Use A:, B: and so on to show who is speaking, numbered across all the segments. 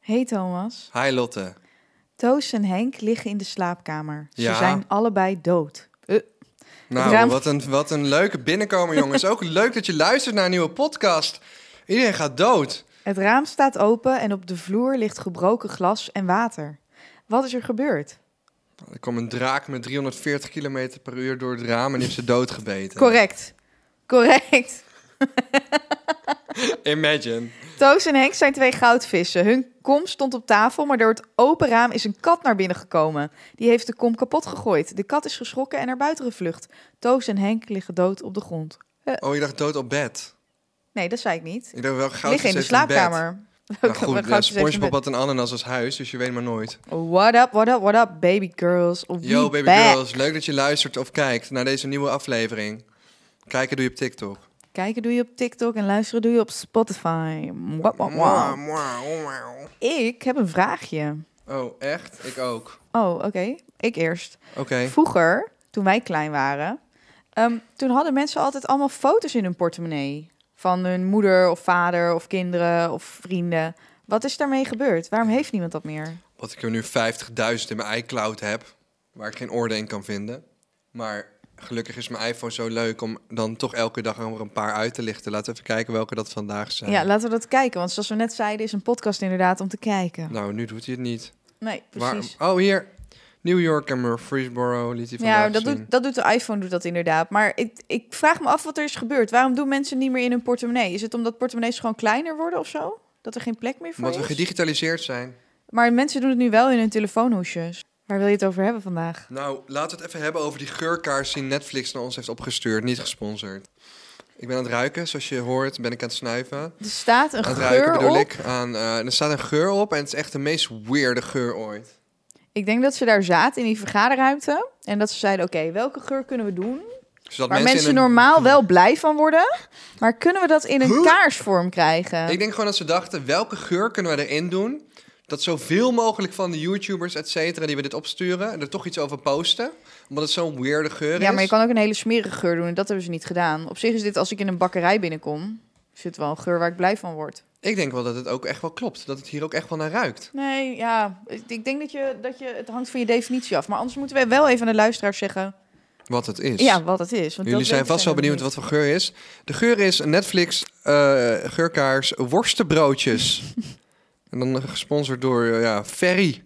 A: Hey Thomas.
B: Hi Lotte.
A: Toos en Henk liggen in de slaapkamer. Ze
B: Ja.
A: zijn allebei dood.
B: Nou,
A: Ruim-
B: wat, een, wat een leuke binnenkomer, jongens. Ook leuk dat je luistert naar een nieuwe podcast. Iedereen gaat dood.
A: Het raam staat open en op de vloer ligt gebroken glas en water. Wat is er gebeurd?
B: Er kwam een draak met 340 km per uur door het raam en die heeft ze doodgebeten.
A: Correct. Correct.
B: Imagine.
A: Toos en Henk zijn twee goudvissen. Hun kom stond op tafel, maar door het open raam is een kat naar binnen gekomen. Die heeft de kom kapot gegooid. De kat is geschrokken en naar buiten gevlucht. Toos en Henk liggen dood op de grond.
B: Oh, je dacht dood op bed.
A: Nee, dat zei ik niet.
B: Ik dacht wel goud
A: Liggen in de slaapkamer.
B: Nou
A: Welke- goudvis
B: goed, ja,
A: heeft een bed.
B: Spongebob had een ananas als huis, dus je weet maar nooit.
A: What up, what up, what up, baby girls. We
B: Yo, baby
A: back.
B: girls. Leuk dat je luistert of kijkt naar deze nieuwe aflevering. Kijken doe je op TikTok.
A: Kijken doe je op TikTok en luisteren doe je op Spotify. Wap, wap, wap.
B: Mwah, mwah.
A: Ik heb een vraagje.
B: Oh, echt? Ik ook.
A: Oh, oké. Ik eerst.
B: Oké.
A: Vroeger, toen wij klein waren, ehm, toen hadden mensen altijd allemaal foto's in hun portemonnee. Van hun moeder of vader of kinderen of vrienden. Wat is daarmee gebeurd? Waarom heeft niemand dat meer?
B: Wat ik er nu 50.000 in mijn iCloud heb, waar ik geen orde in kan vinden. Maar gelukkig is mijn iPhone zo leuk om dan toch elke dag er een paar uit te lichten. Laten we even kijken welke dat vandaag zijn.
A: Ja, laten we dat kijken. Want zoals we net zeiden, is een podcast inderdaad om te kijken.
B: Nou, nu doet hij het niet.
A: Nee,
B: Waarom?
A: precies.
B: Oh, hier. New York en Murfreesboro liet hij vandaag
A: Ja, dat
B: zien.
A: doet, dat doet de iPhone doet dat inderdaad. Maar ik, ik vraag me af wat er is gebeurd. Waarom doen mensen niet meer in hun portemonnee? Is het omdat portemonnees gewoon kleiner worden of zo? Dat er geen plek meer voor
B: Omdat we
A: is?
B: gedigitaliseerd zijn.
A: Maar mensen doen het nu wel in hun telefoonhoesjes. Waar wil je het over hebben vandaag?
B: Nou, laten we het even hebben over die geurkaars die Netflix naar ons heeft opgestuurd. Niet gesponsord. Ik ben aan het ruiken, zoals je hoort ben ik aan het snuiven.
A: Er staat een
B: Aan het ruiken
A: geur
B: bedoel
A: op. Ik.
B: ik. Aan, eh, er staat een geur op en het is echt de meest weirde geur ooit.
A: denk dat ze daar zaten in die vergaderruimte. En dat ze zeiden, oké, welke geur kunnen we doen? Waar
B: Zodat mensen,
A: mensen,
B: in een-
A: normaal wel blij van worden. Maar kunnen we dat in een
B: Huh?
A: kaarsvorm krijgen?
B: Ik denk gewoon dat ze dachten, welke geur kunnen we erin doen? Dat zoveel mogelijk van de YouTubers, et cetera, die we dit opsturen, er toch iets over posten. Omdat het zo'n weirde geur
A: Ja,
B: is.
A: maar je kan ook een hele smerige geur doen. En dat hebben ze niet gedaan. Op zich is dit, als ik in een bakkerij binnenkom, zit wel een geur waar ik blij van word.
B: Ik denk wel dat het ook echt wel klopt. Dat het hier ook echt wel naar ruikt.
A: Nee, ja. Ik ik denk dat je, dat je, het hangt van je definitie af. Maar anders moeten wij wel even aan de luisteraars zeggen
B: Wat het is.
A: ja, wat het is. Want
B: Jullie
A: dat
B: zijn
A: weten
B: vast wel
A: zij nog
B: benieuwd wat voor geur is. De geur is Netflix eh, geurkaars worstenbroodjes. en dan eh, gesponsord door eh, ja, Ferry.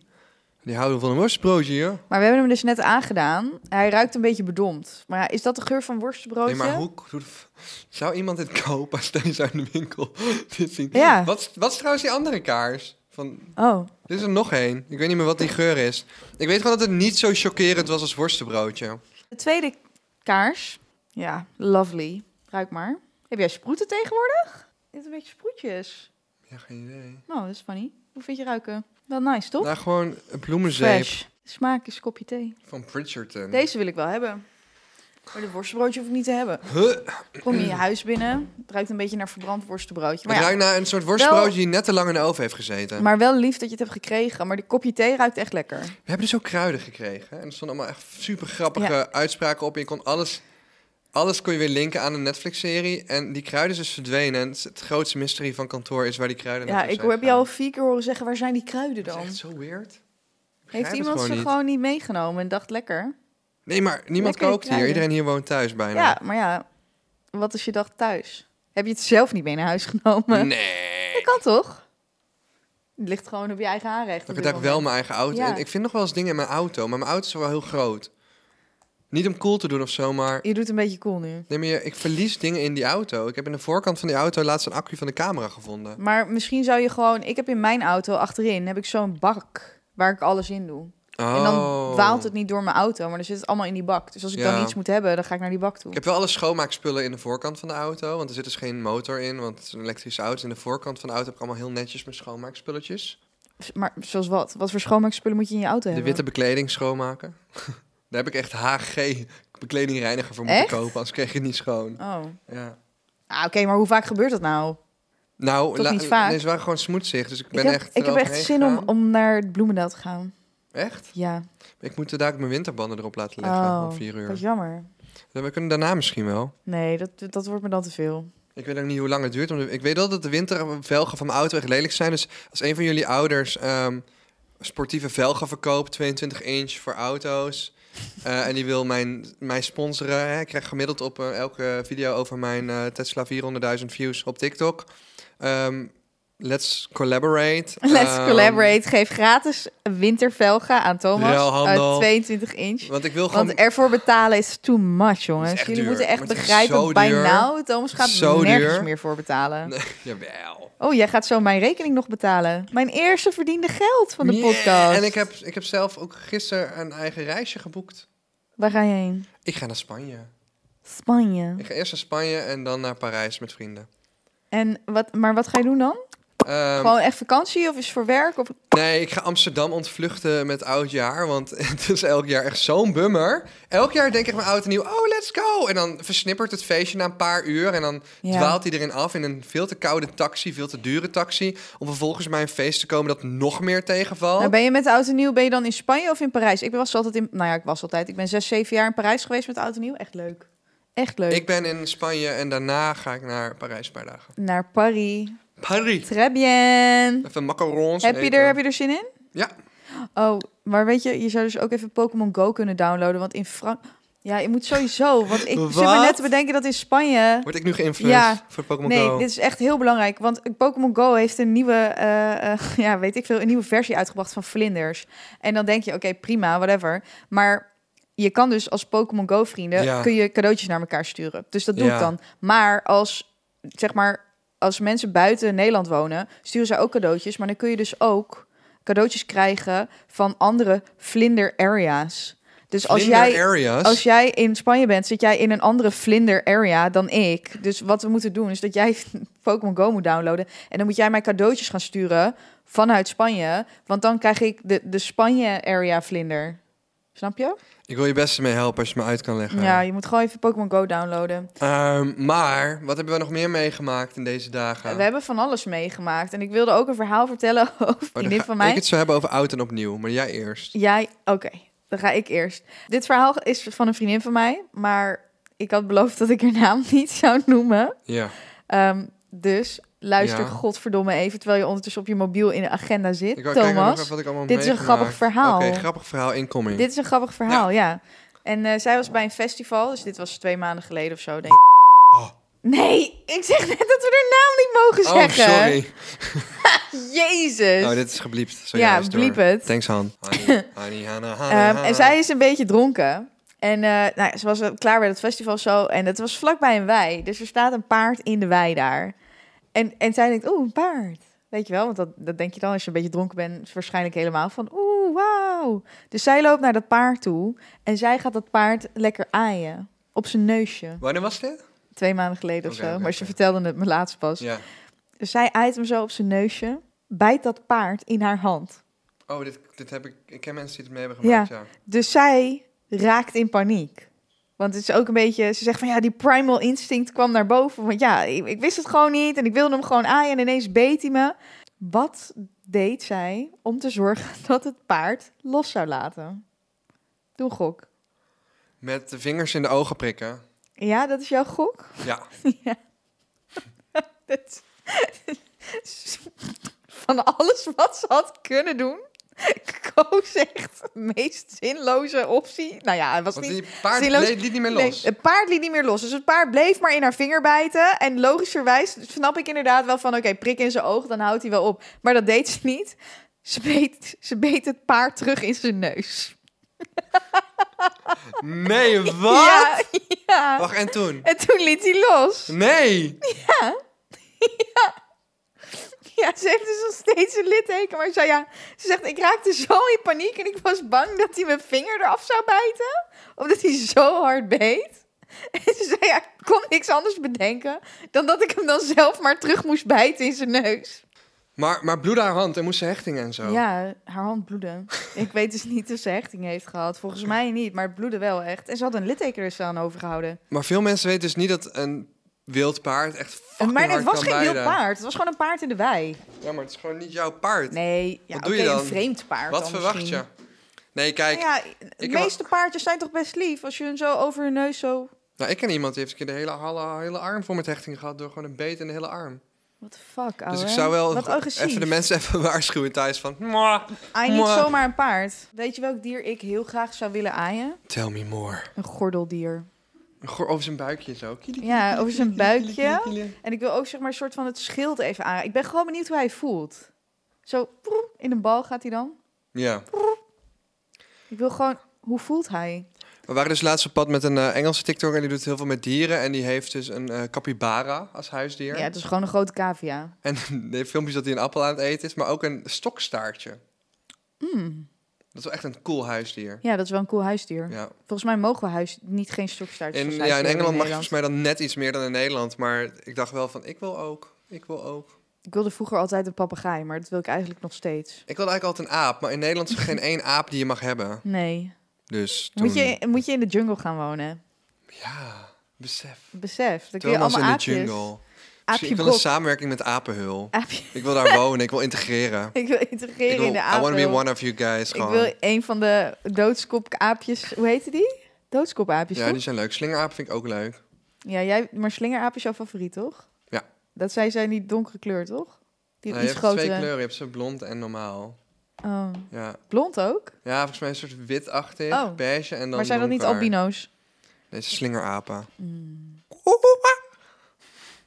B: Die houden van een worstenbroodje, joh.
A: niet. Maar we hebben hem dus net aangedaan. Hij ruikt een beetje bedompt. Maar ja, is dat de geur van worstenbroodje?
B: Nee, maar hoe... hoe de f- Zou iemand dit kopen als deze uit de winkel dit zien?
A: Ja.
B: Wat, is- wat is trouwens die andere kaars? Van,
A: Oh,
B: er is er nog één. Ik weet niet meer wat die geur is. Ik weet gewoon dat het niet zo chockerend was als worstenbroodje.
A: de tweede kaars. Ja, lovely. Ruik maar. Heb jij sproeten tegenwoordig? Dit is een beetje sproetjes.
B: Ja, geen idee.
A: Nou, dat is funny. Hoe vind je ruiken? Wel nice, toch?
B: Nou, gewoon een bloemenzeep
A: Fresh. Smaak is kopje thee.
B: van Pritcherton.
A: Deze wil ik wel hebben. Maar dit worstenbroodje hoef ik niet te hebben.
B: Huh?
A: Kom je in je huis binnen, het ruikt een beetje naar verbrand worstenbroodje. Maar,
B: het
A: ja,
B: ruikt naar een soort worstbroodje die net te lang in de oven heeft gezeten.
A: maar wel lief dat je het hebt gekregen. Maar die kopje thee ruikt echt lekker.
B: We hebben dus ook kruiden gekregen. En er stonden allemaal echt super grappige uitspraken op. En je kon alles, alles kon je weer linken aan een Netflix-serie. En die kruiden is dus verdwenen. En het, is- het grootste mysterie van kantoor is waar die kruiden
A: Ja,
B: naartoe
A: ik
B: zijn
A: heb je al
B: gegaan.
A: vier keer horen zeggen, waar zijn die kruiden
B: Dat
A: dan?
B: is echt zo weird. Ik begrijp
A: Heeft
B: het
A: iemand ze
B: niet.
A: gewoon niet meegenomen en dacht lekker?
B: Nee, maar niemand
A: Lekker
B: kookt hier.
A: kruiden.
B: Iedereen hier woont thuis bijna.
A: Ja, maar ja, wat is je dag thuis? Heb je het zelf niet mee naar huis genomen?
B: Nee.
A: Dat kan toch? Het ligt gewoon op je eigen aanrecht. op
B: Ik
A: dit
B: heb wel
A: moment.
B: mijn eigen auto.
A: Ja.
B: En ik vind nog wel eens dingen in mijn auto. Maar mijn auto is wel heel groot. Niet om cool te doen of zo, maar...
A: Je doet een beetje cool nu.
B: Nee, maar je- ik verlies dingen in die auto. Ik heb in de voorkant van die auto laatst een accu van de camera gevonden.
A: Maar misschien zou je gewoon... Ik heb in mijn auto achterin heb ik zo'n bak waar ik alles in doe.
B: Oh.
A: En dan waalt het niet door mijn auto, maar dan zit het allemaal in die bak. Dus als ik
B: Ja.
A: dan iets moet hebben, dan ga ik naar die bak toe.
B: Ik heb wel alle schoonmaakspullen in de voorkant van de auto. Want er zit dus geen motor in, want het is een elektrische auto. Dus in de voorkant van de auto heb ik allemaal heel netjes mijn schoonmaakspulletjes.
A: Dus, Maar zoals wat? Wat voor schoonmaakspullen moet je in je auto
B: De
A: hebben?
B: witte bekleding schoonmaken. Daar heb ik echt HG bekledingreiniger voor moeten
A: Echt?
B: kopen. Anders kreeg je het niet schoon.
A: Oh.
B: Ja.
A: Ah, Oké, maar hoe vaak gebeurt dat nou?
B: Nou,
A: Toch
B: la-
A: niet vaak?
B: nee, ze waren gewoon smoetsig. Dus ik ben
A: ik heb
B: echt
A: ik heb echt
B: eroverheen
A: zin om,
B: gegaan.
A: om naar het Bloemendaal te gaan.
B: Echt?
A: Ja,
B: Ik moet daar ook mijn winterbanden erop laten leggen
A: Oh,
B: om vier uur.
A: dat is jammer.
B: We kunnen daarna misschien wel.
A: Nee, dat, dat wordt me dan te veel.
B: Ik weet ook niet hoe lang het duurt. want Ik weet wel dat de wintervelgen van mijn auto echt lelijk zijn. Dus als een van jullie ouders ehm, sportieve velgen verkoopt, 22 inch voor auto's. eh, en die wil mijn, mij sponsoren. Hè. Ik krijg gemiddeld op eh, elke video over mijn eh, Tesla 400.000 views op TikTok. Ehm, let's collaborate.
A: Let's
B: Ehm,
A: collaborate. Geef gratis wintervelga aan Thomas.
B: Ruilhandel.
A: uit 22 inch.
B: Want ik wil gewoon
A: Want ervoor betalen is too much, jongens.
B: echt
A: Jullie
B: duur.
A: moeten echt
B: Maar het is
A: begrijpen,
B: zo
A: bij
B: duur.
A: nou, Thomas gaat
B: Zo
A: nergens
B: duur.
A: meer voor betalen.
B: Nee, jawel.
A: Oh, jij gaat zo mijn rekening nog betalen. Mijn eerste verdiende geld van de
B: Yeah.
A: podcast.
B: En ik heb, ik heb zelf ook gisteren een eigen reisje geboekt.
A: Waar ga je heen?
B: Ik ga naar Spanje.
A: Spanje.
B: Ik ga eerst naar Spanje en dan naar Parijs met vrienden.
A: En wat, maar wat ga je doen dan?
B: Ehm, Oh.
A: Gewoon echt vakantie of is het voor werk? Of...
B: nee, ik ga Amsterdam ontvluchten met oud jaar. Want het is elk jaar echt zo'n bummer. Elk jaar denk ik mijn oud en nieuw, oh, let's go. En dan versnippert het feestje na een paar uur. En dan
A: Ja.
B: dwaalt hij erin af in een veel te koude taxi, veel te dure taxi. Om vervolgens bij een feest te komen dat nog meer tegenvalt.
A: Nou, ben je met oud en nieuw, ben je dan in Spanje of in Parijs? Ik was altijd in, nou ja, ik was altijd. Ik ben zes, zeven jaar in Parijs geweest met oud en nieuw. Echt leuk. Echt leuk.
B: Ik ben in Spanje en daarna ga ik naar Parijs een paar dagen.
A: Naar Paris.
B: Paris.
A: Très bien.
B: Even macarons
A: Heb je,
B: eten.
A: er, heb je er zin in?
B: Ja.
A: Oh, maar weet je, je zou dus ook even Pokémon Go kunnen downloaden. Want in Frank... Ja, je moet sowieso. Want ik zit maar
B: Wat?
A: net te bedenken dat in Spanje...
B: Word ik nu geïnfluenced
A: Ja.
B: voor Pokémon
A: nee,
B: Go?
A: dit is echt heel belangrijk. Want Pokémon Go heeft een nieuwe, eh, eh, ja, weet ik veel, een nieuwe versie uitgebracht van vlinders. En dan denk je, oké, prima, whatever. Maar je kan dus als Pokémon Go vrienden,
B: Ja.
A: kun je cadeautjes naar elkaar sturen. Dus dat doe
B: Ja.
A: ik dan. Maar als, zeg maar, als mensen buiten Nederland wonen, sturen zij ook cadeautjes. Maar dan kun je dus ook cadeautjes krijgen van andere vlinder-area's. Dus als
B: Vlinder
A: jij...
B: areas.
A: Als jij in Spanje bent, zit jij in een andere vlinder area dan ik. Dus wat we moeten doen is dat jij Pokémon Go moet downloaden. En dan moet jij mij cadeautjes gaan sturen vanuit Spanje. Want dan krijg ik de, de Spanje area vlinder. Snap je?
B: Ik wil je best mee helpen als je me uit kan leggen.
A: Ja, je moet gewoon even Pokémon Go downloaden.
B: Ehm, maar, wat hebben we nog meer meegemaakt in deze dagen?
A: We hebben van alles meegemaakt. En ik wilde ook een verhaal vertellen over
B: Oh, dan
A: vriendin
B: ga
A: van mij.
B: Ik het zo hebben over oud en opnieuw, maar jij eerst.
A: Jij, oké, dan ga ik eerst. Dit verhaal is van een vriendin van mij. Maar ik had beloofd dat ik haar naam niet zou noemen.
B: Ja.
A: Ehm, dus luister
B: Ja.
A: godverdomme even, terwijl je ondertussen op je mobiel in de agenda zit.
B: Ik wou kijken nog
A: Thomas,
B: even wat ik allemaal
A: dit is een
B: meegemaakt.
A: grappig verhaal.
B: Oké, grappig verhaal incoming.
A: dit is een grappig verhaal, ja. En eh, zij was bij een festival, dus dit was twee maanden geleden of zo, denk ik.
B: Oh.
A: Nee, ik zeg net dat we haar naam niet mogen
B: oh,
A: zeggen.
B: sorry.
A: Jezus.
B: Oh, dit is gebliept. Sorry,
A: Ja,
B: hij is door.
A: bliep het.
B: Thanks, Han. Hani, hani, hana, hana,
A: Ehm,
B: hana.
A: en zij is een beetje dronken. En eh, nou, ze was wel klaar bij het festival zo. En het was vlakbij een wei. Dus er staat een paard in de wei daar. En, en zij denkt, oeh, een paard. Weet je wel, want dat, dat denk je dan als je een beetje dronken bent. Waarschijnlijk helemaal van, oeh, wauw. Dus zij loopt naar dat paard toe. En zij gaat dat paard lekker aaien. Op zijn neusje.
B: Wanneer was dit?
A: Twee maanden geleden of
B: Oké,
A: zo.
B: oké,
A: maar ze
B: oké.
A: vertelde het me laatst pas.
B: Ja.
A: Dus zij aait hem zo op zijn neusje. Bijt dat paard in haar hand.
B: Oh, dit, dit heb ik... Ik ken mensen die het mee hebben gemaakt, ja.
A: Dus zij raakt in paniek. Want het is ook een beetje, ze zegt van ja, die primal instinct kwam naar boven. Want ja, ik, ik wist het gewoon niet en ik wilde hem gewoon aaien en ineens beet hij me. Wat deed zij om te zorgen dat het paard los zou laten? Doe een gok.
B: Met de vingers in de ogen prikken.
A: Ja, dat is jouw gok?
B: Ja.
A: Dat is- Van alles wat ze had kunnen doen, koos ze echt de meest zinloze optie. Nou ja, het was
B: Want
A: niet
B: die paard
A: zinloos-
B: leed- liet niet meer
A: Nee,
B: los.
A: het paard liet niet meer los. Dus het paard bleef maar in haar vinger bijten. En logischerwijs snap ik inderdaad wel van... oké, prik in zijn oog, dan houdt hij wel op. Maar dat deed ze niet. Ze beet, ze beet het paard terug in zijn neus.
B: Nee, wat?
A: Ja, ja.
B: Wacht, en toen?
A: En toen liet hij los.
B: Nee!
A: Ja, ze heeft dus nog steeds een litteken. Maar ze, zei, ja, ze zegt, ik raakte zo in paniek... en ik was bang dat hij mijn vinger eraf zou bijten. Omdat hij zo hard beet. En ze zei, ja, ik kon niks anders bedenken... dan dat ik hem dan zelf maar terug moest bijten in zijn neus.
B: Maar, maar bloedde haar hand en moest ze hechtingen en zo.
A: Ja, haar hand bloedde. ik weet dus niet of ze hechting heeft gehad. Volgens mij niet, maar het bloedde wel echt. En ze had een litteken er aan overgehouden.
B: Maar veel mensen weten dus niet dat een wild paard echt fucking
A: maar
B: hard
A: het was
B: kan
A: geen wild
B: bijten.
A: paard. Het was gewoon een paard in de wei.
B: Ja, maar het is gewoon niet jouw paard.
A: Nee, ja, oké,
B: Wat doe je
A: een
B: dan?
A: vreemd paard
B: Wat
A: dan
B: verwacht
A: misschien.
B: je? Nee, kijk,
A: Nou ja, de
B: heb
A: meeste paardjes zijn toch best lief als je hun zo over hun neus zo...
B: Nou, ik ken iemand die heeft een keer de hele, alle- hele arm vol met hechtingen gehad door gewoon een beet in de hele arm.
A: What the fuck, ouwe.
B: dus ik zou wel
A: Oh, Wat
B: gewoon
A: agressief.
B: even de mensen even waarschuwen thuis van... "Mwah,
A: Aai niet
B: Mwah.
A: zomaar een paard. Weet je welk dier ik heel graag zou willen aaien?
B: Tell me more.
A: Een gordeldier.
B: Goor, over zijn buikje zo. Kieli, kieli,
A: Ja, over zijn buikje.
B: kieli, kieli.
A: En ik wil ook zeg maar een soort van het schild even aan. Ik ben gewoon benieuwd hoe hij voelt. Zo proem, in een bal gaat hij dan.
B: Ja.
A: Ik wil gewoon, hoe voelt hij?
B: We waren dus laatst op pad met een eh, Engelse TikToker en die doet heel veel met dieren. En die heeft dus een eh capybara als huisdier.
A: Ja, het is gewoon een grote cavia.
B: En de heeft filmpjes dat hij een appel aan het eten is, maar ook een stokstaartje.
A: Mm.
B: Dat is wel echt een cool huisdier.
A: Ja, dat is wel een cool huisdier.
B: Ja.
A: Volgens mij mogen we huis niet geen stokstaartjes
B: In,
A: als
B: ja, in
A: huisdier
B: Engeland mag je
A: Nederland.
B: volgens mij dan net iets meer dan in Nederland. Maar ik dacht wel van, ik wil ook. Ik wil ook.
A: Ik wilde vroeger altijd een papegaai, maar dat wil ik eigenlijk nog steeds.
B: Ik wilde eigenlijk altijd een aap. Maar in Nederland is er geen één aap die je mag hebben.
A: Nee.
B: Dus toen...
A: Moet je, moet je in de jungle gaan wonen?
B: Ja, besef.
A: Besef. Dan kun je
B: Thomas
A: allemaal
B: in de
A: aapjes.
B: jungle. Misschien-
A: Aapje
B: ik wil een
A: brok.
B: samenwerking met Apenhul.
A: Aapje.
B: Ik wil daar wonen. Ik wil integreren.
A: Ik wil integreren
B: Ik wil,
A: in de
B: I want to be
A: apen.
B: one of you guys.
A: Ik
B: Gewoon.
A: wil een van de doodskopaapjes. Hoe heette die? Doodskopaapjes,
B: ja,
A: toch?
B: die zijn leuk. Slingeraap vind ik ook leuk.
A: Ja, jij, maar slingeraap is jouw favoriet, toch?
B: Ja.
A: Dat zij zijn die donkere kleur, toch? Die
B: Nou, je
A: iets
B: hebt twee
A: grotere.
B: kleuren. Je hebt ze blond en normaal.
A: Oh.
B: Ja,
A: Blond ook?
B: ja volgens mij een soort witachtig,
A: Oh.
B: beige en dan
A: maar zijn dat niet
B: donker.
A: albino's?
B: Deze slingerapen.
A: Mm.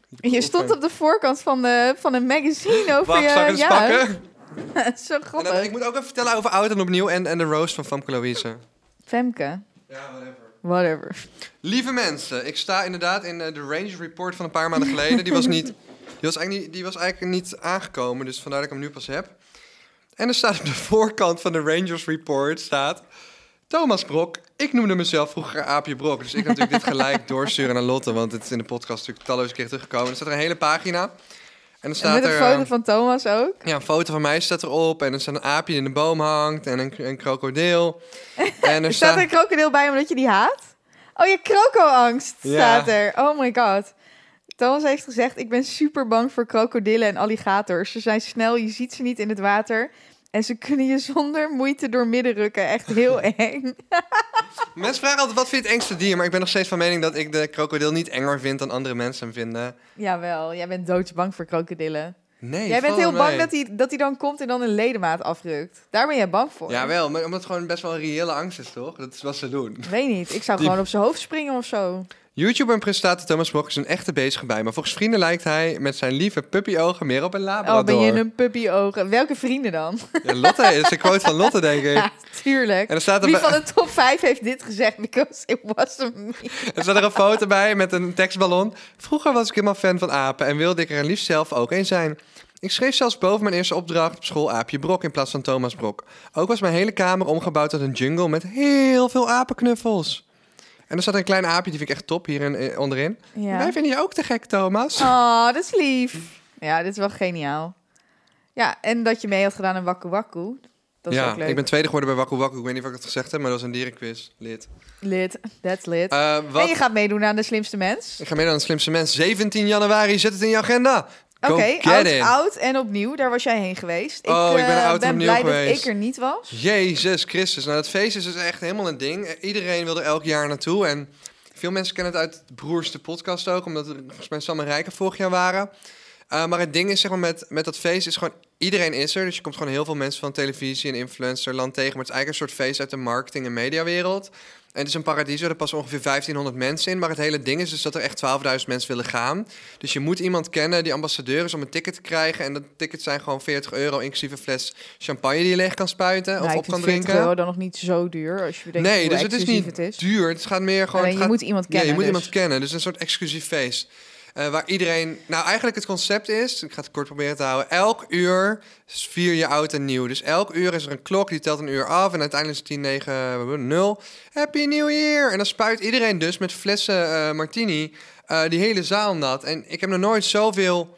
A: Je stond op de voorkant van, de, van een magazine over je... ja, zo
B: En
A: grappig.
B: dan, ik moet ook even vertellen over Oud en Opnieuw en, en de roast van Famke Louise.
A: Femke,
B: Ja, whatever.
A: whatever.
B: Lieve mensen, ik sta inderdaad in eh, de Range Report van een paar maanden geleden. Die was, niet, die, was eigenlijk niet, die was eigenlijk niet aangekomen, dus vandaar dat ik hem nu pas heb. En er staat op de voorkant van de Rangers Report staat... Thomas Brok, ik noemde mezelf vroeger Aapje Brok. Dus ik ga natuurlijk dit gelijk doorsturen naar Lotte, want het is in de podcast natuurlijk talloze keer teruggekomen. Er staat er een hele pagina. En er
A: En
B: staat
A: met een
B: er...
A: foto
B: eh,
A: van Thomas ook.
B: ja, een foto van mij staat erop. En er staat een aapje die in de boom hangt. En een, een krokodil. En er
A: Er staat een krokodil bij omdat je die haat? Oh, je krokoangst
B: Ja.
A: staat er. Oh my god. Thomas heeft gezegd, ik ben super bang voor krokodillen en alligators. Ze zijn snel, je ziet ze niet in het water. En ze kunnen je zonder moeite door midden rukken. Echt heel eng.
B: Mensen vragen altijd, wat vind je het engste dier? Maar ik ben nog steeds van mening dat ik de krokodil niet enger vind dan andere mensen hem vinden.
A: Jawel, jij bent doodsbang voor krokodillen.
B: Nee,
A: jij bent
B: valt
A: heel
B: wel
A: bang
B: mee.
A: dat hij, dat hij dan komt en dan een ledemaat afrukt. Daar ben jij bang voor.
B: Jawel, maar omdat het gewoon best wel een reële angst is, toch? Dat is wat ze doen.
A: Weet niet, ik zou
B: Die-
A: gewoon op zijn hoofd springen of zo.
B: YouTuber en presentator Thomas Brok is een echte bezige bij. Maar volgens vrienden lijkt hij met zijn lieve puppyogen meer op een
A: Oh,
B: labrador.
A: ben je een puppy ogen. Welke vrienden dan?
B: Ja, Lotte, dat is een quote van Lotte, denk ik.
A: Ja, tuurlijk.
B: En er staat er,
A: Wie
B: bij-
A: van de top 5 heeft dit gezegd? Because it was a me.
B: Er staat er een foto bij met een tekstballon. Vroeger was ik helemaal fan van apen en wilde ik er liefst zelf ook een zijn. Ik schreef zelfs boven mijn eerste opdracht op school Aapje Brok in plaats van Thomas Brok. Ook was mijn hele kamer omgebouwd tot een jungle met heel veel apenknuffels. En er zat een klein aapje, die vind ik echt top hier in, eh, onderin. Wij
A: Ja.
B: vinden je ook te gek, Thomas.
A: Oh, dat is lief. Ja, dit is wel geniaal. Ja, en dat je mee had gedaan aan Wakku Wakku. Dat is
B: ja,
A: ook leuk.
B: ik ben tweede geworden bij Wakku Wakku. Ik weet niet of ik het gezegd heb, maar dat was een dierenquiz. Lid.
A: Lid, that's lid.
B: Eh, wat?
A: En je gaat meedoen aan de slimste mens.
B: Ik ga mee naar de slimste mens. 17 januari, zet het in je agenda.
A: Oké,
B: Go
A: oud,
B: get it.
A: oud en opnieuw. Daar was jij heen geweest.
B: Oh, ik ben er
A: eh,
B: oud en opnieuw
A: blij dat
B: geweest.
A: ik er niet was.
B: Jezus Christus. Nou, dat feest is dus echt helemaal een ding. Eh, Iedereen wil er elk jaar naartoe. En veel mensen kennen het uit de broerste podcast ook. Omdat er volgens mij Sam en Rijken vorig jaar waren. Eh, maar het ding is, zeg maar, met, met dat feest is gewoon... Iedereen is er. Dus je komt gewoon heel veel mensen van televisie en influencerland tegen. Maar het is eigenlijk een soort feest uit de marketing- en mediawereld. En het is een paradiso, er passen ongeveer 1500 mensen in. Maar het hele ding is dus dat er echt 12.000 mensen willen gaan. Dus je moet iemand kennen die ambassadeur is om een ticket te krijgen. En dat ticket zijn gewoon 40 euro, inclusief een fles champagne die je leeg kan spuiten
A: Nou,
B: Eh, of
A: ik
B: op
A: vind
B: kan
A: 40
B: drinken.
A: euro dan nog niet zo duur. Als je bedenkt
B: nee,
A: hoe
B: dus het is
A: exclusief
B: niet
A: het is.
B: duur. Het gaat meer gewoon...
A: Alleen,
B: het
A: je
B: gaat-
A: moet iemand
B: ja,
A: kennen.
B: je moet
A: dus.
B: iemand kennen. Dus een soort exclusief feest. Eh, waar iedereen... Nou, eigenlijk het concept is... Ik ga het kort proberen te houden. Elk uur vier je oud en nieuw. Dus elk uur is er een klok, die telt een uur af. En uiteindelijk is het 10, 9, 0. Happy New Year! En dan spuit iedereen dus met flessen eh, martini eh, die hele zaal nat. En ik heb nog nooit zoveel...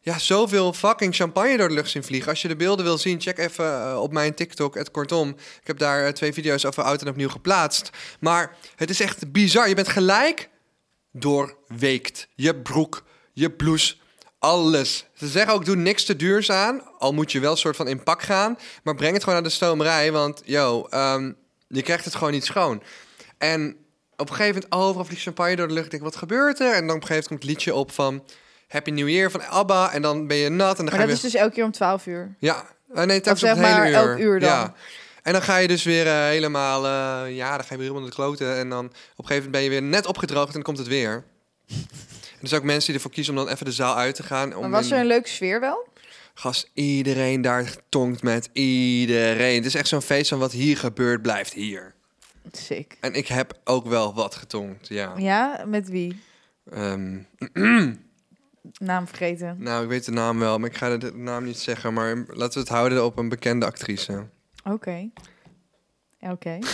B: Ja, zoveel fucking champagne door de lucht zien vliegen. Als je de beelden wil zien, check even eh, op mijn TikTok, het kortom. Ik heb daar eh, twee video's over oud en opnieuw geplaatst. Maar het is echt bizar. Je bent gelijk doorweekt. Je broek, je blouse, alles. Ze zeggen ook, doe niks te duurs aan. Al moet je wel een soort van in pak gaan. Maar breng het gewoon naar de stomerij. Want, yo, ehm, je krijgt het gewoon niet schoon. En op een gegeven moment overal vliegt champagne door de lucht. Ik denk, wat gebeurt er? En dan op een gegeven moment komt het liedje op van Happy New Year van ABBA. En dan ben je nat en dan
A: Maar
B: ga je
A: dat
B: weer...
A: is dus elke keer om 12 uur.
B: Ja, Eh, nee, telkens
A: zeg
B: op het hele
A: maar
B: uur.
A: elk uur dan.
B: Ja. En dan ga je dus weer eh, helemaal... eh, ja, dan ga je weer helemaal naar de kloten. En dan op een gegeven moment ben je weer net opgedroogd en dan komt het weer. En er zijn ook mensen die ervoor kiezen om dan even de zaal uit te gaan. Om
A: Maar was er
B: een-
A: een leuke sfeer wel?
B: Gast, iedereen daar tongt met iedereen. Het is echt zo'n feest van wat hier gebeurt, blijft hier.
A: Sick.
B: En ik heb ook wel wat getongd, ja.
A: Ja, met wie?
B: Ehm,
A: Naam vergeten.
B: nou, ik weet de naam wel, maar ik ga de, de naam niet zeggen. Maar laten we het houden op een bekende actrice.
A: Oké. Oké.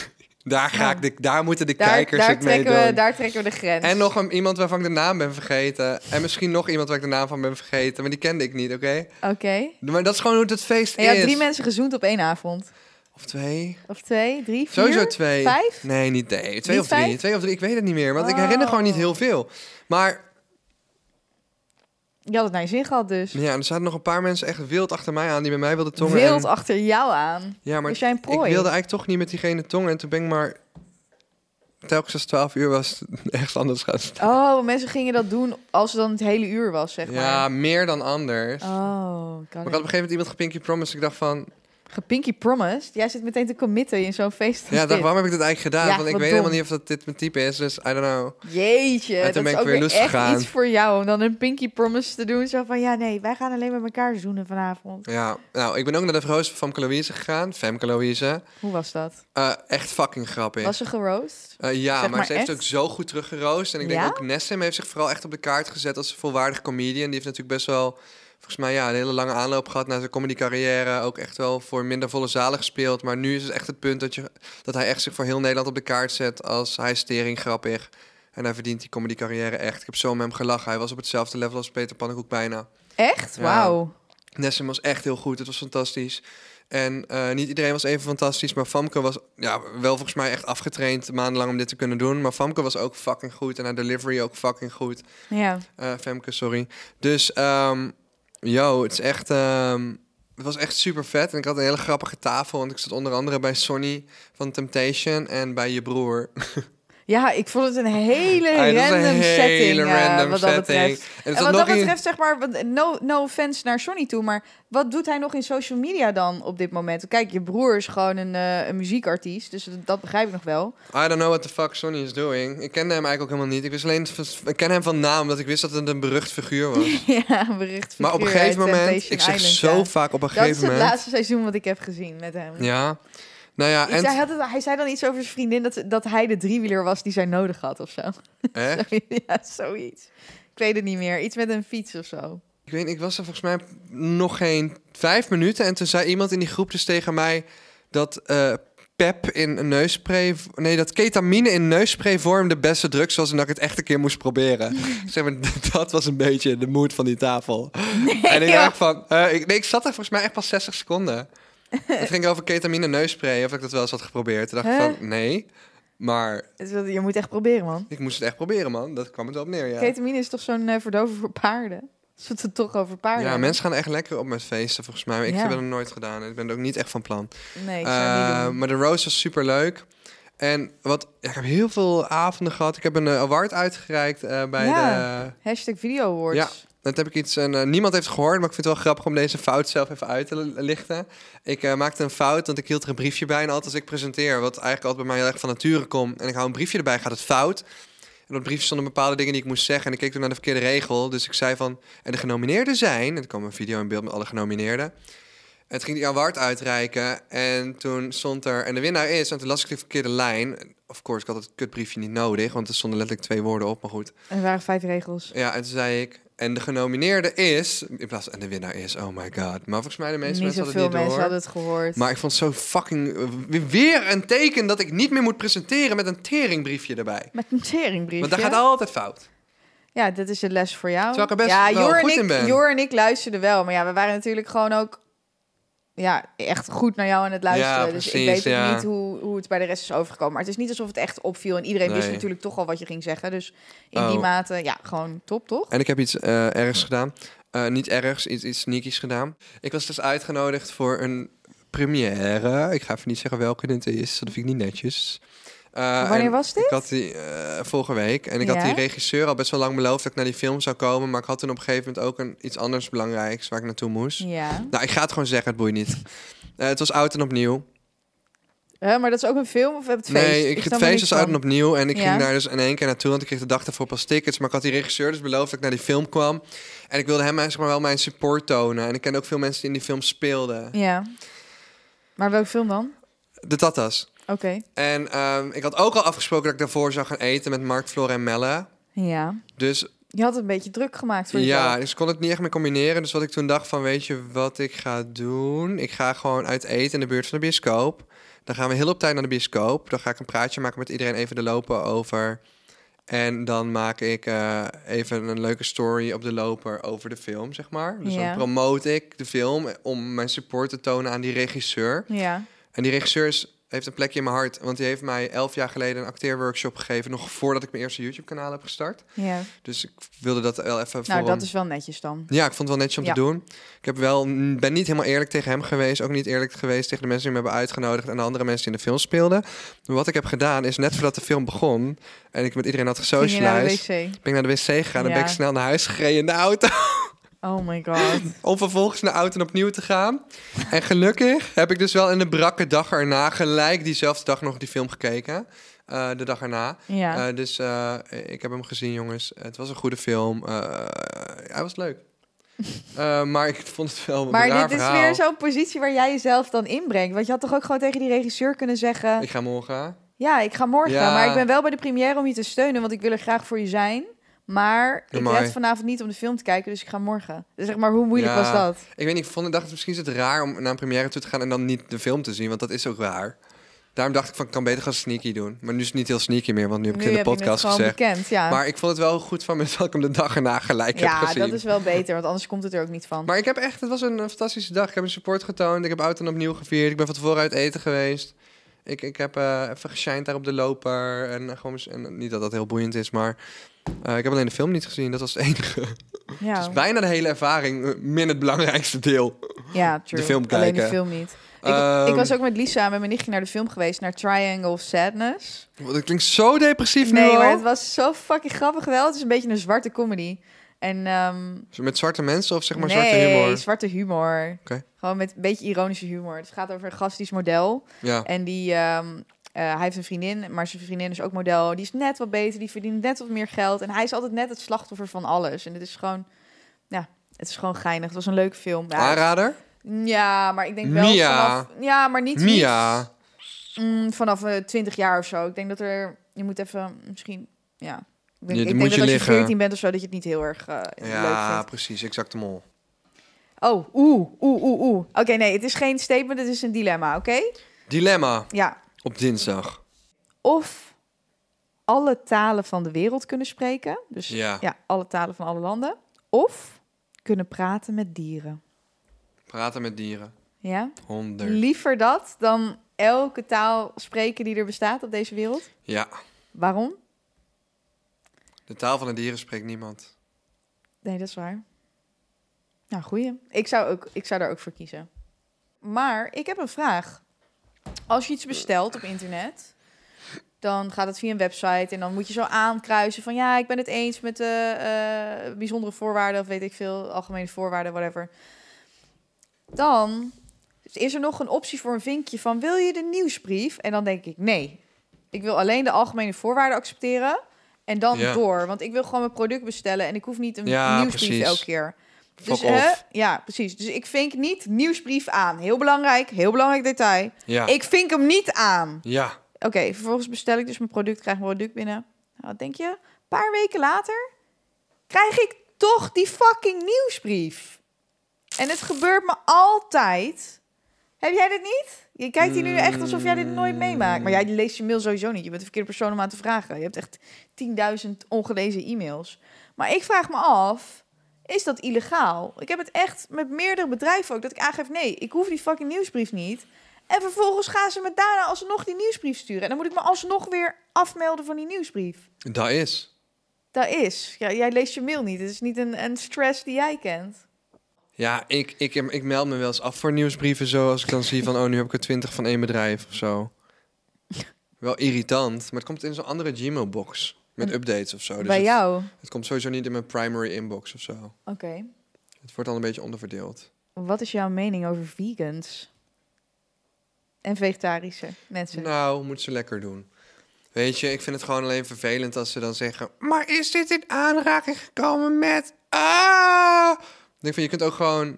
B: Daar, ga
A: Nou.
B: ik de, daar moeten de
A: Daar,
B: kijkers
A: daar,
B: het mee
A: trekken we,
B: doen.
A: daar trekken we de grens.
B: En nog een, iemand waarvan ik de naam ben vergeten. En misschien nog iemand waar ik de naam van ben vergeten. Maar die kende ik niet, oké?
A: Oké.
B: Maar dat is gewoon hoe het feest
A: En je had
B: is.
A: drie mensen gezoend op één avond.
B: Of twee.
A: Of twee, drie, vier?
B: Sowieso twee.
A: Vijf?
B: Nee, niet nee. Twee
A: Niet
B: of drie.
A: vijf?
B: Twee of drie. Ik weet het niet meer, want ik herinner gewoon niet
A: Oh.
B: heel veel. Maar
A: Je had het naar je zin gehad dus.
B: ja, er zaten nog een paar mensen echt wild achter mij aan die met mij wilden tongen.
A: Wild
B: en-
A: achter jou aan.
B: ja, maar
A: Was jij een
B: ik wilde
A: prooi?
B: eigenlijk toch niet met diegene tongen. En toen ben ik maar telkens als 12 uur was ergens anders gaan staan.
A: Oh, mensen gingen dat doen als het dan het hele uur was, zeg
B: Ja, meer dan anders.
A: maar. Oh, kan
B: Maar ik had op een gegeven moment iemand gepinky promise. Ik dacht van,
A: Gepinky promised? Jij zit meteen te committen in zo'n feest. als
B: ja, ik dacht,
A: dit.
B: waarom heb ik dit eigenlijk gedaan?
A: Ja,
B: Want ik
A: wat
B: weet
A: dom.
B: helemaal niet of dat dit mijn type is. Dus I don't know. En
A: Jeetje,
B: toen
A: dat
B: ben
A: is
B: ik
A: ook
B: weer
A: weer
B: lust
A: echt
B: gegaan.
A: iets voor jou om dan een pinky promise te doen. Zo van, ja, nee, wij gaan alleen met elkaar zoenen vanavond.
B: Ja, nou, ik ben ook naar de verhoos van Famke Louise gegaan. Femke Louise.
A: Hoe was dat?
B: Eh, echt fucking grappig.
A: Was ze geroost?
B: Eh, ja,
A: Zeg
B: maar,
A: maar
B: ze heeft
A: echt?
B: ook zo goed teruggeroost. En ik denk
A: Ja?
B: ook Nessim heeft zich vooral echt op de kaart gezet als een volwaardig comedian. Die heeft natuurlijk best wel, volgens mij, ja, een hele lange aanloop gehad naar zijn comedy carrière. Ook echt wel voor minder volle zalen gespeeld. Maar nu is het echt het punt dat, je, dat hij echt zich voor heel Nederland op de kaart zet als hij is stering grappig. En hij verdient die comedy carrière echt. Ik heb zo met hem gelachen. Hij was op hetzelfde level als Peter Pannenkoek bijna.
A: Echt?
B: Ja.
A: Wauw.
B: Nessim was echt heel goed. Het was fantastisch. En eh, niet iedereen was even fantastisch. Maar Famke was ja, wel volgens mij echt afgetraind maandenlang om dit te kunnen doen. Maar Famke was ook fucking goed. En haar delivery ook fucking goed.
A: Ja.
B: Eh, Femke, sorry. Dus, ehm yo, het is echt... ehm, het was echt super vet. En ik had een hele grappige tafel. Want ik zat onder andere bij Sonny van Temptation. En bij je broer.
A: Ja, ik vond het een hele
B: Hey, dat is een
A: random
B: hele
A: setting eh,
B: random
A: wat dat
B: setting.
A: betreft.
B: er
A: En
B: zat
A: wat dat
B: nog een-
A: betreft, zeg maar, want no, no offense naar Johnny toe, maar wat doet hij nog in social media dan op dit moment? Kijk, je broer is gewoon een, eh, een muziekartiest, dus dat- dat begrijp ik nog wel.
B: I don't know what the fuck Sonny is doing. Ik kende hem eigenlijk ook helemaal niet. Ik wist alleen... Ik ken hem van naam. Omdat ik wist dat het een berucht figuur was.
A: ja, een bericht.
B: Maar op een gegeven moment, ik zeg zo vaak op een
A: Dat is
B: gegeven
A: het
B: moment.
A: laatste seizoen wat ik heb gezien met hem.
B: Ja. Nou ja,
A: Iets- hij,
B: en
A: had het- hij zei dan iets over zijn vriendin dat, dat hij de driewieler was die zij nodig had of zo.
B: echt?
A: ja, zoiets. Ik weet het niet meer. Iets met een fiets of zo.
B: Ik weet, niet, ik was er volgens mij nog geen vijf minuten en toen zei iemand in die groep dus tegen mij dat eh, pep in een neusspray, nee, dat ketamine in neusspray vorm de beste drugs was en dat ik het echt een keer moest proberen. zeg maar, dat was een beetje de moed van die tafel. en ik
A: joh.
B: dacht van, eh, ik, nee, ik zat er volgens mij echt pas 60 seconden. het ging over ketamine neusspray, of ik dat wel eens had geprobeerd. Toen dacht ik
A: Huh?
B: van, nee, maar
A: Dus dat- Je moet echt proberen, man.
B: Ik moest het echt proberen, man. Dat kwam het wel op neer, ja.
A: Ketamine is toch zo'n eh, verdover voor paarden? Als we het er toch over paarden
B: ja,
A: hebben.
B: mensen gaan echt lekker op met feesten, volgens mij. Maar ik
A: Ja.
B: heb dat nog nooit gedaan. en Ik ben er ook niet echt van plan.
A: Nee, ik zou het
B: Eh,
A: niet doen.
B: maar de Rose was super leuk. En wat, ja, ik heb heel veel avonden gehad. Ik heb een eh, award uitgereikt eh, bij
A: Ja.
B: de...
A: Hashtag video awards.
B: Ja. Dat heb ik iets, en, eh, niemand heeft het gehoord, maar ik vind het wel grappig om deze fout zelf even uit te li- lichten. Ik eh, maakte een fout, want ik hield er een briefje bij. En altijd als ik presenteer, wat eigenlijk altijd bij mij heel erg van nature komt, en ik hou een briefje erbij, gaat het fout. En op het briefje stonden bepaalde dingen die ik moest zeggen. En ik keek toen naar de verkeerde regel. Dus ik zei van, en de genomineerden zijn... En er kwam een video in beeld met alle genomineerden. En toen ging die award uitreiken. En toen stond er, en de winnaar is... En toen las ik de verkeerde lijn. En Of course, ik had het kutbriefje niet nodig, want er stonden letterlijk twee woorden op. Maar goed,
A: En er waren vijf regels.
B: ja, en toen zei ik... En de genomineerde is... In plaats van en de winnaar is, oh my god. Maar volgens mij de meeste
A: niet
B: mensen
A: zoveel
B: hadden het niet
A: mensen
B: door.
A: hadden het gehoord.
B: Maar ik vond het zo fucking... eh, Weer een teken dat ik niet meer moet presenteren met een teringbriefje erbij.
A: Met een teringbriefje.
B: Want dat gaat altijd fout.
A: Ja, dat is een les voor jou.
B: Terwijl ik er best
A: ja,
B: wel
A: Jor en
B: goed
A: ik,
B: in ben.
A: Jor en ik luisterden wel. Maar ja, we waren natuurlijk gewoon ook... Ja, echt goed naar jou aan het luisteren.
B: Ja,
A: dus ik
B: precies,
A: weet ook
B: ja.
A: niet hoe, hoe het bij de rest is overgekomen. Maar het is niet alsof het echt opviel. En iedereen wist
B: Nee.
A: natuurlijk toch al wat je ging zeggen. Dus in
B: Oh.
A: die mate, ja, gewoon top, toch?
B: En ik heb iets eh, ergs gedaan. Eh, niet ergs, iets, iets sneakies gedaan. Ik was dus uitgenodigd voor een première. Ik ga even niet zeggen welke dit is. Dat vind ik niet netjes. Eh,
A: Wanneer
B: en
A: was dit?
B: Ik had die eh, vorige week. En ik had
A: Ja?
B: die regisseur al best wel lang beloofd dat ik naar die film zou komen. Maar ik had toen op een gegeven moment ook een, iets anders belangrijks waar ik naartoe moest.
A: Ja.
B: Nou, ik ga het gewoon zeggen, het boeit niet. Eh, het was oud en opnieuw.
A: Hè, maar dat is ook een film of het feest?
B: Nee, ik,
A: snap
B: het
A: er
B: feest
A: niks
B: was oud en
A: van.
B: opnieuw. En ik
A: Ja.
B: ging daar dus in één keer naartoe. Want ik kreeg de dag daarvoor pas tickets. Maar ik had die regisseur dus beloofd dat ik naar die film kwam. En ik wilde hem eh, zeg maar, wel mijn support tonen. En ik kende ook veel mensen die in die film speelden.
A: Ja. Maar welke film dan?
B: De Tatas.
A: Oké.
B: En ehm, ik had ook al afgesproken dat ik daarvoor zou gaan eten met Mark, Flor en Melle.
A: Ja.
B: Dus
A: Je had het een beetje druk gemaakt voor jezelf.
B: ja, dus ik kon het niet echt meer combineren. Dus wat ik toen dacht van, weet je wat ik ga doen? Ik ga gewoon uit eten in de buurt van de bioscoop. Dan gaan we heel op tijd naar de bioscoop. Dan ga ik een praatje maken met iedereen even de lopen over. En dan maak ik eh, even een leuke story op de loper over de film, zeg maar. Dus
A: Ja.
B: dan promote ik de film om mijn support te tonen aan die regisseur.
A: Ja.
B: En die regisseur is- heeft een plekje in mijn hart. Want die heeft mij elf jaar geleden een acteerworkshop gegeven. Nog voordat ik mijn eerste YouTube-kanaal heb gestart.
A: ja.
B: Dus ik wilde dat wel even voor
A: Nou,
B: hem-
A: dat is wel netjes dan.
B: Ja, ik vond het wel netjes om
A: Ja.
B: te doen. Ik heb wel, mm, ben niet helemaal eerlijk tegen hem geweest. Ook niet eerlijk geweest tegen de mensen die me hebben uitgenodigd... en de andere mensen die in de film speelden. Maar wat ik heb gedaan is net voordat de film begon... en ik met iedereen had
A: Ging je naar de
B: gesocialized...
A: wc?
B: Ben ik naar de wc gegaan en ben
A: Ja.
B: ik snel naar huis gereden in de auto...
A: Oh my god.
B: om vervolgens naar oud en opnieuw te gaan. En gelukkig heb ik dus wel in de brakke dag erna... gelijk diezelfde dag nog die film gekeken. eh, de dag erna.
A: Ja.
B: Eh, dus eh, ik heb hem gezien, jongens. Het was een goede film. Eh, hij was leuk. Eh, maar ik vond het wel een
A: maar
B: raar
A: dit is
B: verhaal.
A: weer zo'n positie waar jij jezelf dan inbrengt. Want je had toch ook gewoon tegen die regisseur kunnen zeggen...
B: Ik ga morgen.
A: Ja, ik ga morgen.
B: Ja.
A: Maar ik ben wel bij de première om je te steunen, want ik wil er graag voor je zijn. Maar ik
B: Amai.
A: red vanavond niet om de film te kijken, dus ik ga morgen. Dus zeg maar, hoe moeilijk
B: Ja.
A: was dat?
B: Ik weet niet, ik vond, ik dacht misschien is het raar om naar een première toe te gaan... en dan niet de film te zien, want dat is ook raar. Daarom dacht ik van, ik kan beter gaan sneaky doen. Maar nu is het niet heel sneaky meer, want nu heb ik
A: Nu
B: het in
A: heb
B: de
A: je het
B: podcast
A: gewoon
B: gezegd.
A: bekend, ja.
B: Maar ik vond het wel goed van me dat ik hem de dag erna gelijk
A: ja,
B: heb gezien.
A: dat is wel beter, want anders komt het er ook niet van.
B: Maar ik heb echt, het was een eh, fantastische dag. Ik heb een support getoond, ik heb oud en opnieuw gevierd. Ik ben van tevoren uit eten geweest. Ik, ik heb eh, even geshined daar op de loper. En eh, gewoon, eens- en niet dat dat heel boeiend is, maar eh, ik heb alleen de film niet gezien. Dat was het enige.
A: ja,
B: Dus bijna de hele ervaring, eh, min het belangrijkste deel.
A: ja true.
B: de film
A: Alleen de
B: kijken.
A: film niet. Ik, ik
B: Ehm,
A: was ook met Lisa en met mijn nichtje naar de film geweest, naar Triangle of Sadness.
B: want Dat klinkt zo depressief nu
A: Nee,
B: al.
A: maar het was zo fucking grappig wel. Het is een beetje een zwarte comedy. En ehm,
B: Met zwarte mensen of zeg maar
A: nee,
B: zwarte humor?
A: zwarte humor.
B: Oké.
A: Gewoon met een beetje ironische humor. Het gaat over een gast die is model.
B: Ja.
A: En die, ehm, eh, hij heeft een vriendin, maar zijn vriendin is ook model. Die is net wat beter, die verdient net wat meer geld. En hij is altijd net het slachtoffer van alles. En het is gewoon, ja, het is gewoon geinig. Het was een leuke film. Ja,
B: Aanrader?
A: ja, maar ik denk wel
B: Mia.
A: vanaf... Ja, maar niet
B: Mia.
A: niet, mm, vanaf eh, 20 jaar of zo. Ik denk dat er... Je moet even misschien... Ja. Ik, denk-
B: Je-
A: ik
B: moet
A: denk
B: je
A: dat als
B: liggen.
A: je 14 bent of zo, dat je het niet heel erg eh, leuk vindt.
B: Ja, precies. Exact de mol.
A: Oh, oeh, oeh, oeh, oeh. Oké, nee, het is geen statement, het is een dilemma, oké?
B: Dilemma
A: Ja.
B: op dinsdag.
A: Of alle talen van de wereld kunnen spreken. Dus ja.
B: Ja.
A: alle talen van alle landen. Of kunnen praten met dieren.
B: Praten met dieren.
A: Ja?
B: Honderd.
A: Liever dat dan elke taal spreken die er bestaat op deze wereld.
B: Ja.
A: Waarom?
B: De taal van de dieren spreekt niemand.
A: Nee, dat is waar. Nou, goeie. Ik zou, ook, ik zou daar ook voor kiezen. Maar ik heb een vraag. Als je iets bestelt op internet, dan gaat het via een website en dan moet je zo aankruisen van ja, ik ben het eens met de eh, bijzondere voorwaarden of weet ik veel, algemene voorwaarden, whatever. Dan is er nog een optie voor een vinkje van wil je de nieuwsbrief? En dan denk ik nee, ik wil alleen de algemene voorwaarden accepteren en dan
B: Ja.
A: door, want ik wil gewoon mijn product bestellen en ik hoef niet een
B: Ja,
A: nieuwsbrief
B: precies.
A: elke keer.
B: Fuck
A: dus, hè?
B: off.
A: ja, precies. Dus ik vink niet nieuwsbrief aan. Heel belangrijk, heel belangrijk detail.
B: Ja.
A: Ik vink hem niet aan.
B: Ja.
A: Oké, vervolgens bestel ik dus mijn product, krijg mijn product binnen. Nou, wat denk je? Een paar weken later krijg ik toch die fucking nieuwsbrief. En het gebeurt me altijd. Heb jij dit niet? Je kijkt hier nu echt alsof jij dit nooit meemaakt. Maar jij leest je mail sowieso niet. Je bent de verkeerde persoon om aan te vragen. Je hebt echt 10.000 ongelezen e-mails. Maar ik vraag me af, is dat illegaal? Ik heb het echt met meerdere bedrijven ook, dat ik aangeef... nee, ik hoef die fucking nieuwsbrief niet. En vervolgens gaan ze me daarna alsnog die nieuwsbrief sturen. En dan moet ik me alsnog weer afmelden van die nieuwsbrief.
B: Dat is.
A: Dat is. Ja, jij leest je mail niet. Het is niet een, een stress die jij
B: Oh,
A: kent.
B: Ja, ik, ik, ik meld me wel eens af voor nieuwsbrieven zo. Als ik dan zie van, oh, nu heb ik er twintig van één bedrijf of zo. wel irritant. Maar het komt in zo'n andere Gmail-box met
A: En-
B: updates of zo. Dus
A: Hm. Bij
B: het,
A: jou?
B: het komt sowieso niet in mijn primary inbox of zo.
A: Oké.
B: Het wordt dan een beetje onderverdeeld.
A: Wat is jouw mening over vegans? En vegetarische mensen?
B: Nou, moet ze lekker doen. Weet je, ik vind het gewoon alleen vervelend als ze dan zeggen... Maar is dit in aanraking gekomen met... Ah! Ik denk van, je kunt ook gewoon...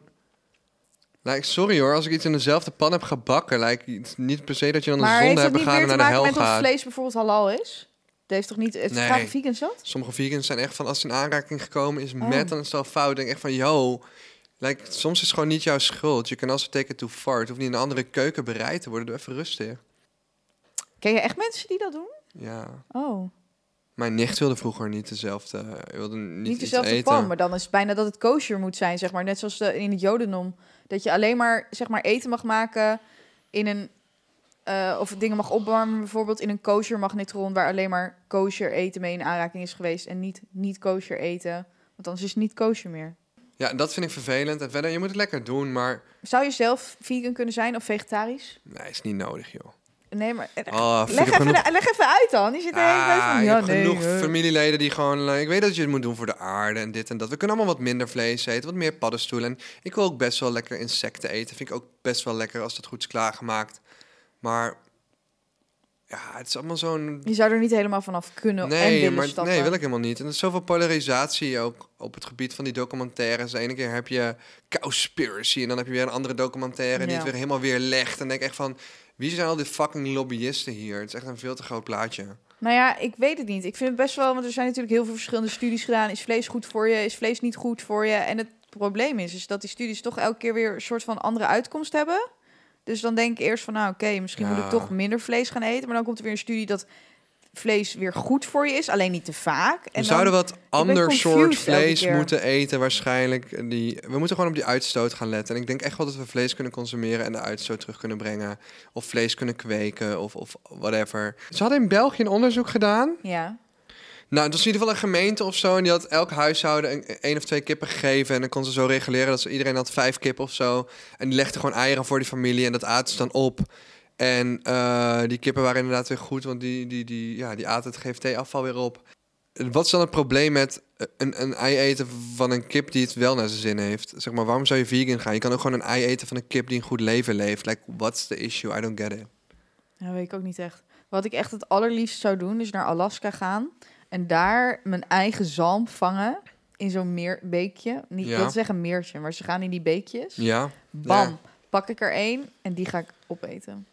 B: Like, sorry hoor, als ik iets in dezelfde pan heb gebakken... Like, het- niet per se dat je dan
A: maar
B: een
A: heeft
B: zonde
A: dat
B: hebt
A: niet meer
B: begaan
A: te
B: en naar de
A: maken
B: hel
A: met dat
B: gaat.
A: vlees bijvoorbeeld halal is? Dat heeft toch niet... Het
B: Nee.
A: Vragen vegans dat?
B: Sommige vegans zijn echt van als ze in aanraking gekomen is
A: Oh.
B: met, dan is het al fout. Ik Denk echt van, yo, like, soms is het gewoon niet jouw schuld. Je kan also take it too far. Het hoeft niet in een andere keuken bereid te worden. Doe even rustig.
A: Ken je echt mensen die dat doen?
B: Ja.
A: Oh,
B: Mijn nicht wilde vroeger niet dezelfde, eh, wilde niet,
A: niet
B: iets
A: dezelfde
B: eten.
A: pan, maar dan is het bijna dat het kosher moet zijn, zeg maar. Net zoals eh, in het jodendom. Dat je alleen maar, zeg maar, eten mag maken in een... eh, of dingen mag opwarmen bijvoorbeeld in een kosher magnetron... waar alleen maar kosher eten mee in aanraking is geweest... en niet niet kosher eten, want anders is het niet kosher meer.
B: Ja, dat vind ik vervelend. En verder, je moet het lekker doen, maar
A: Zou je zelf vegan kunnen zijn of vegetarisch?
B: nee, is niet nodig, joh.
A: Nee, maar eh,
B: Oh, ik
A: leg,
B: heb
A: even,
B: genoeg,
A: leg even uit dan. Je zit er
B: Ah,
A: helemaal van,
B: ik
A: ja,
B: heb
A: nee,
B: genoeg
A: eh.
B: familieleden die gewoon... eh, ik weet dat je het moet doen voor de aarde en dit en dat. We kunnen allemaal wat minder vlees eten, wat meer paddenstoelen. En ik wil ook best wel lekker insecten eten. Vind ik ook best wel lekker als dat goed is klaargemaakt. Maar ja, het is allemaal zo'n...
A: Je zou er niet helemaal vanaf kunnen en
B: Nee,
A: willen
B: maar,
A: stappen.
B: nee, wil ik helemaal niet. En er is zoveel polarisatie ook op het gebied van die documentaires. De ene keer heb je Cowspiracy en dan heb je weer een andere documentaire... die
A: Ja.
B: het weer helemaal weerlegt. En denk ik echt van, wie zijn al die fucking lobbyisten hier? Het is echt een veel te groot plaatje.
A: Nou ja, ik weet het niet. Ik vind het best wel, want er zijn natuurlijk heel veel verschillende studies gedaan. Is vlees goed voor je? Is vlees niet goed voor je? En het probleem is, is dat die studies toch elke keer weer een soort van andere uitkomst hebben. Dus dan denk ik eerst van, nou oké, misschien moet
B: Ja.
A: ik toch minder vlees gaan eten. Maar dan komt er weer een studie dat vlees weer goed voor je is, alleen niet te vaak. En
B: we
A: dan-
B: zouden wat ander
A: confused
B: soort
A: elke
B: vlees
A: keer.
B: moeten eten waarschijnlijk. Die, we moeten gewoon op die uitstoot gaan letten. En ik denk echt wel dat we vlees kunnen consumeren en de uitstoot terug kunnen brengen. Of vlees kunnen kweken of, of whatever. Ze hadden in België een onderzoek gedaan.
A: Ja,
B: Nou, het was in ieder geval een gemeente of zo. En die had elk huishouden een, één of twee kippen gegeven. En dan kon ze zo reguleren dat ze, iedereen had vijf kippen of zo. En die legde gewoon eieren voor die familie. En dat aten ze dan op. En eh, die kippen waren inderdaad weer goed. Want die, die, die, ja, die aten het GFT-afval weer op. En Wat is dan het probleem met een, een ei eten van een kip die het wel naar zijn zin heeft? Zeg maar, waarom zou je vegan gaan? Je kan ook gewoon een ei eten van een kip die een goed leven leeft. Like, what's the issue? I don't get it.
A: Dat weet ik ook niet echt. Wat ik echt het allerliefst zou doen, is naar Alaska gaan. En daar mijn eigen zalm vangen. In zo'n meer, beekje. Niet,
B: Ja.
A: Ik wil zeggen meertje, maar ze gaan in die beekjes.
B: Ja?
A: Bam,
B: Ja.
A: pak ik er één en die ga ik opeten.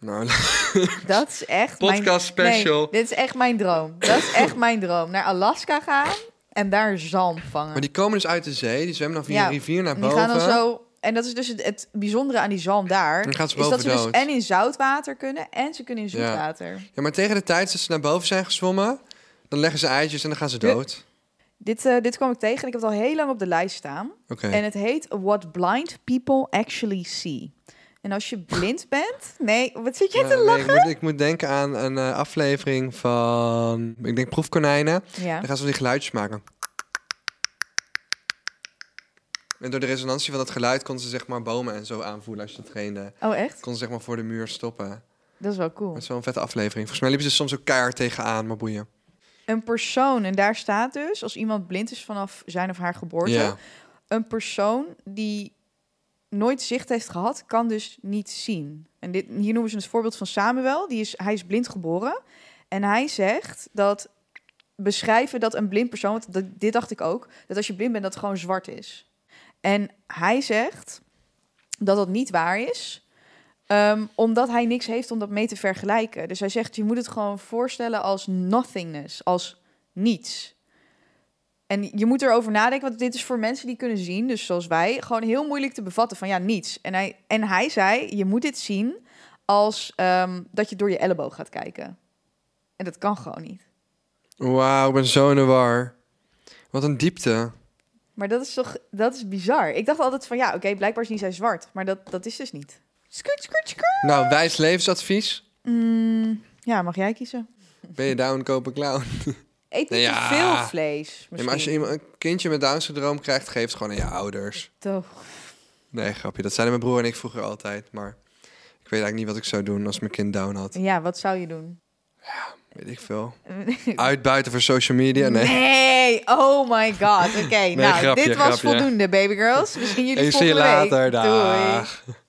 B: Nou,
A: Dat is echt mijn...
B: podcast special.
A: Nee, dit is echt mijn droom. Dat is echt mijn droom. Naar Alaska gaan en daar zalm vangen.
B: Maar die komen dus uit de zee, die zwemmen dan via
A: Ja,
B: een rivier naar
A: En die
B: boven.
A: gaan dan zo... En dat is dus het, het bijzondere aan die zalm daar.
B: Dan gaan ze
A: Is dat
B: boven
A: ze dus
B: dood.
A: en in zoutwater kunnen en ze kunnen in
B: Ja.
A: zoetwater.
B: Ja, maar tegen de tijd dat ze naar boven zijn gezwommen, dan leggen ze eitjes en dan gaan ze dood.
A: Dit, eh, dit kwam ik tegen en ik heb het al heel lang op de lijst staan.
B: Oké.
A: En het heet What Blind People Actually See. En als je blind bent... Nee, wat zit je
B: Ja,
A: te
B: nee,
A: lachen?
B: ik, moet, ik moet denken aan een eh, aflevering van, ik denk proefkonijnen.
A: Ja.
B: Dan gaan ze die geluidjes maken. En door de resonantie van dat geluid kon ze zeg maar bomen en zo aanvoelen als je dat trainde.
A: Oh, echt?
B: Kon ze zeg maar voor de muur stoppen.
A: Dat is wel cool.
B: Dat is wel een vette aflevering. Volgens mij liepen ze soms ook keihard tegenaan, maar boeien.
A: Een persoon, en daar staat dus... als iemand blind is vanaf zijn of haar geboorte...
B: Ja.
A: een persoon die nooit zicht heeft gehad, kan dus niet zien. En dit, hier noemen ze het voorbeeld van Samuel. Die is, hij is blind geboren. En hij zegt dat beschrijven dat een blind persoon, want dat, dit dacht ik ook, dat als je blind bent dat het gewoon zwart is. En hij zegt dat dat niet waar is, ehm, omdat hij niks heeft om dat mee te vergelijken. Dus hij zegt, je moet het gewoon voorstellen als nothingness, als niets. En je moet erover nadenken, want dit is voor mensen die kunnen zien, dus zoals wij, gewoon heel moeilijk te bevatten van ja, niets. En hij, en hij zei, je moet dit zien als ehm, dat je door je elleboog gaat kijken. En dat kan gewoon niet.
B: Wauw, ik ben zo in de war. Wat een diepte.
A: Maar dat is toch, dat is bizar. Ik dacht altijd van ja, oké, blijkbaar is niet zij zwart, maar dat, dat is dus niet. Skurt, skurt, skurt.
B: Nou, wijs levensadvies.
A: Mm, ja, mag jij kiezen?
B: Ben je down, koop een clown.
A: Eet niet
B: Nou ja.
A: te veel vlees. Misschien.
B: Nee, maar als je iemand- een kindje met Down-syndroom krijgt, geef het gewoon aan je ouders.
A: Toch.
B: Nee, grapje. Dat zeiden mijn broer en ik vroeger altijd. Maar ik Ik weet eigenlijk niet wat ik zou doen als mijn kind down had.
A: Ja, wat zou je doen?
B: Weet ik veel. Uitbuiten voor social media? Eh, Nee.
A: Nee, oh my god. Oké, nou,
B: grapje,
A: dit was
B: grapje.
A: voldoende, baby girls. Misschien jullie
B: Ik zie je
A: volgende week.
B: later.
A: Doei.
B: Dag.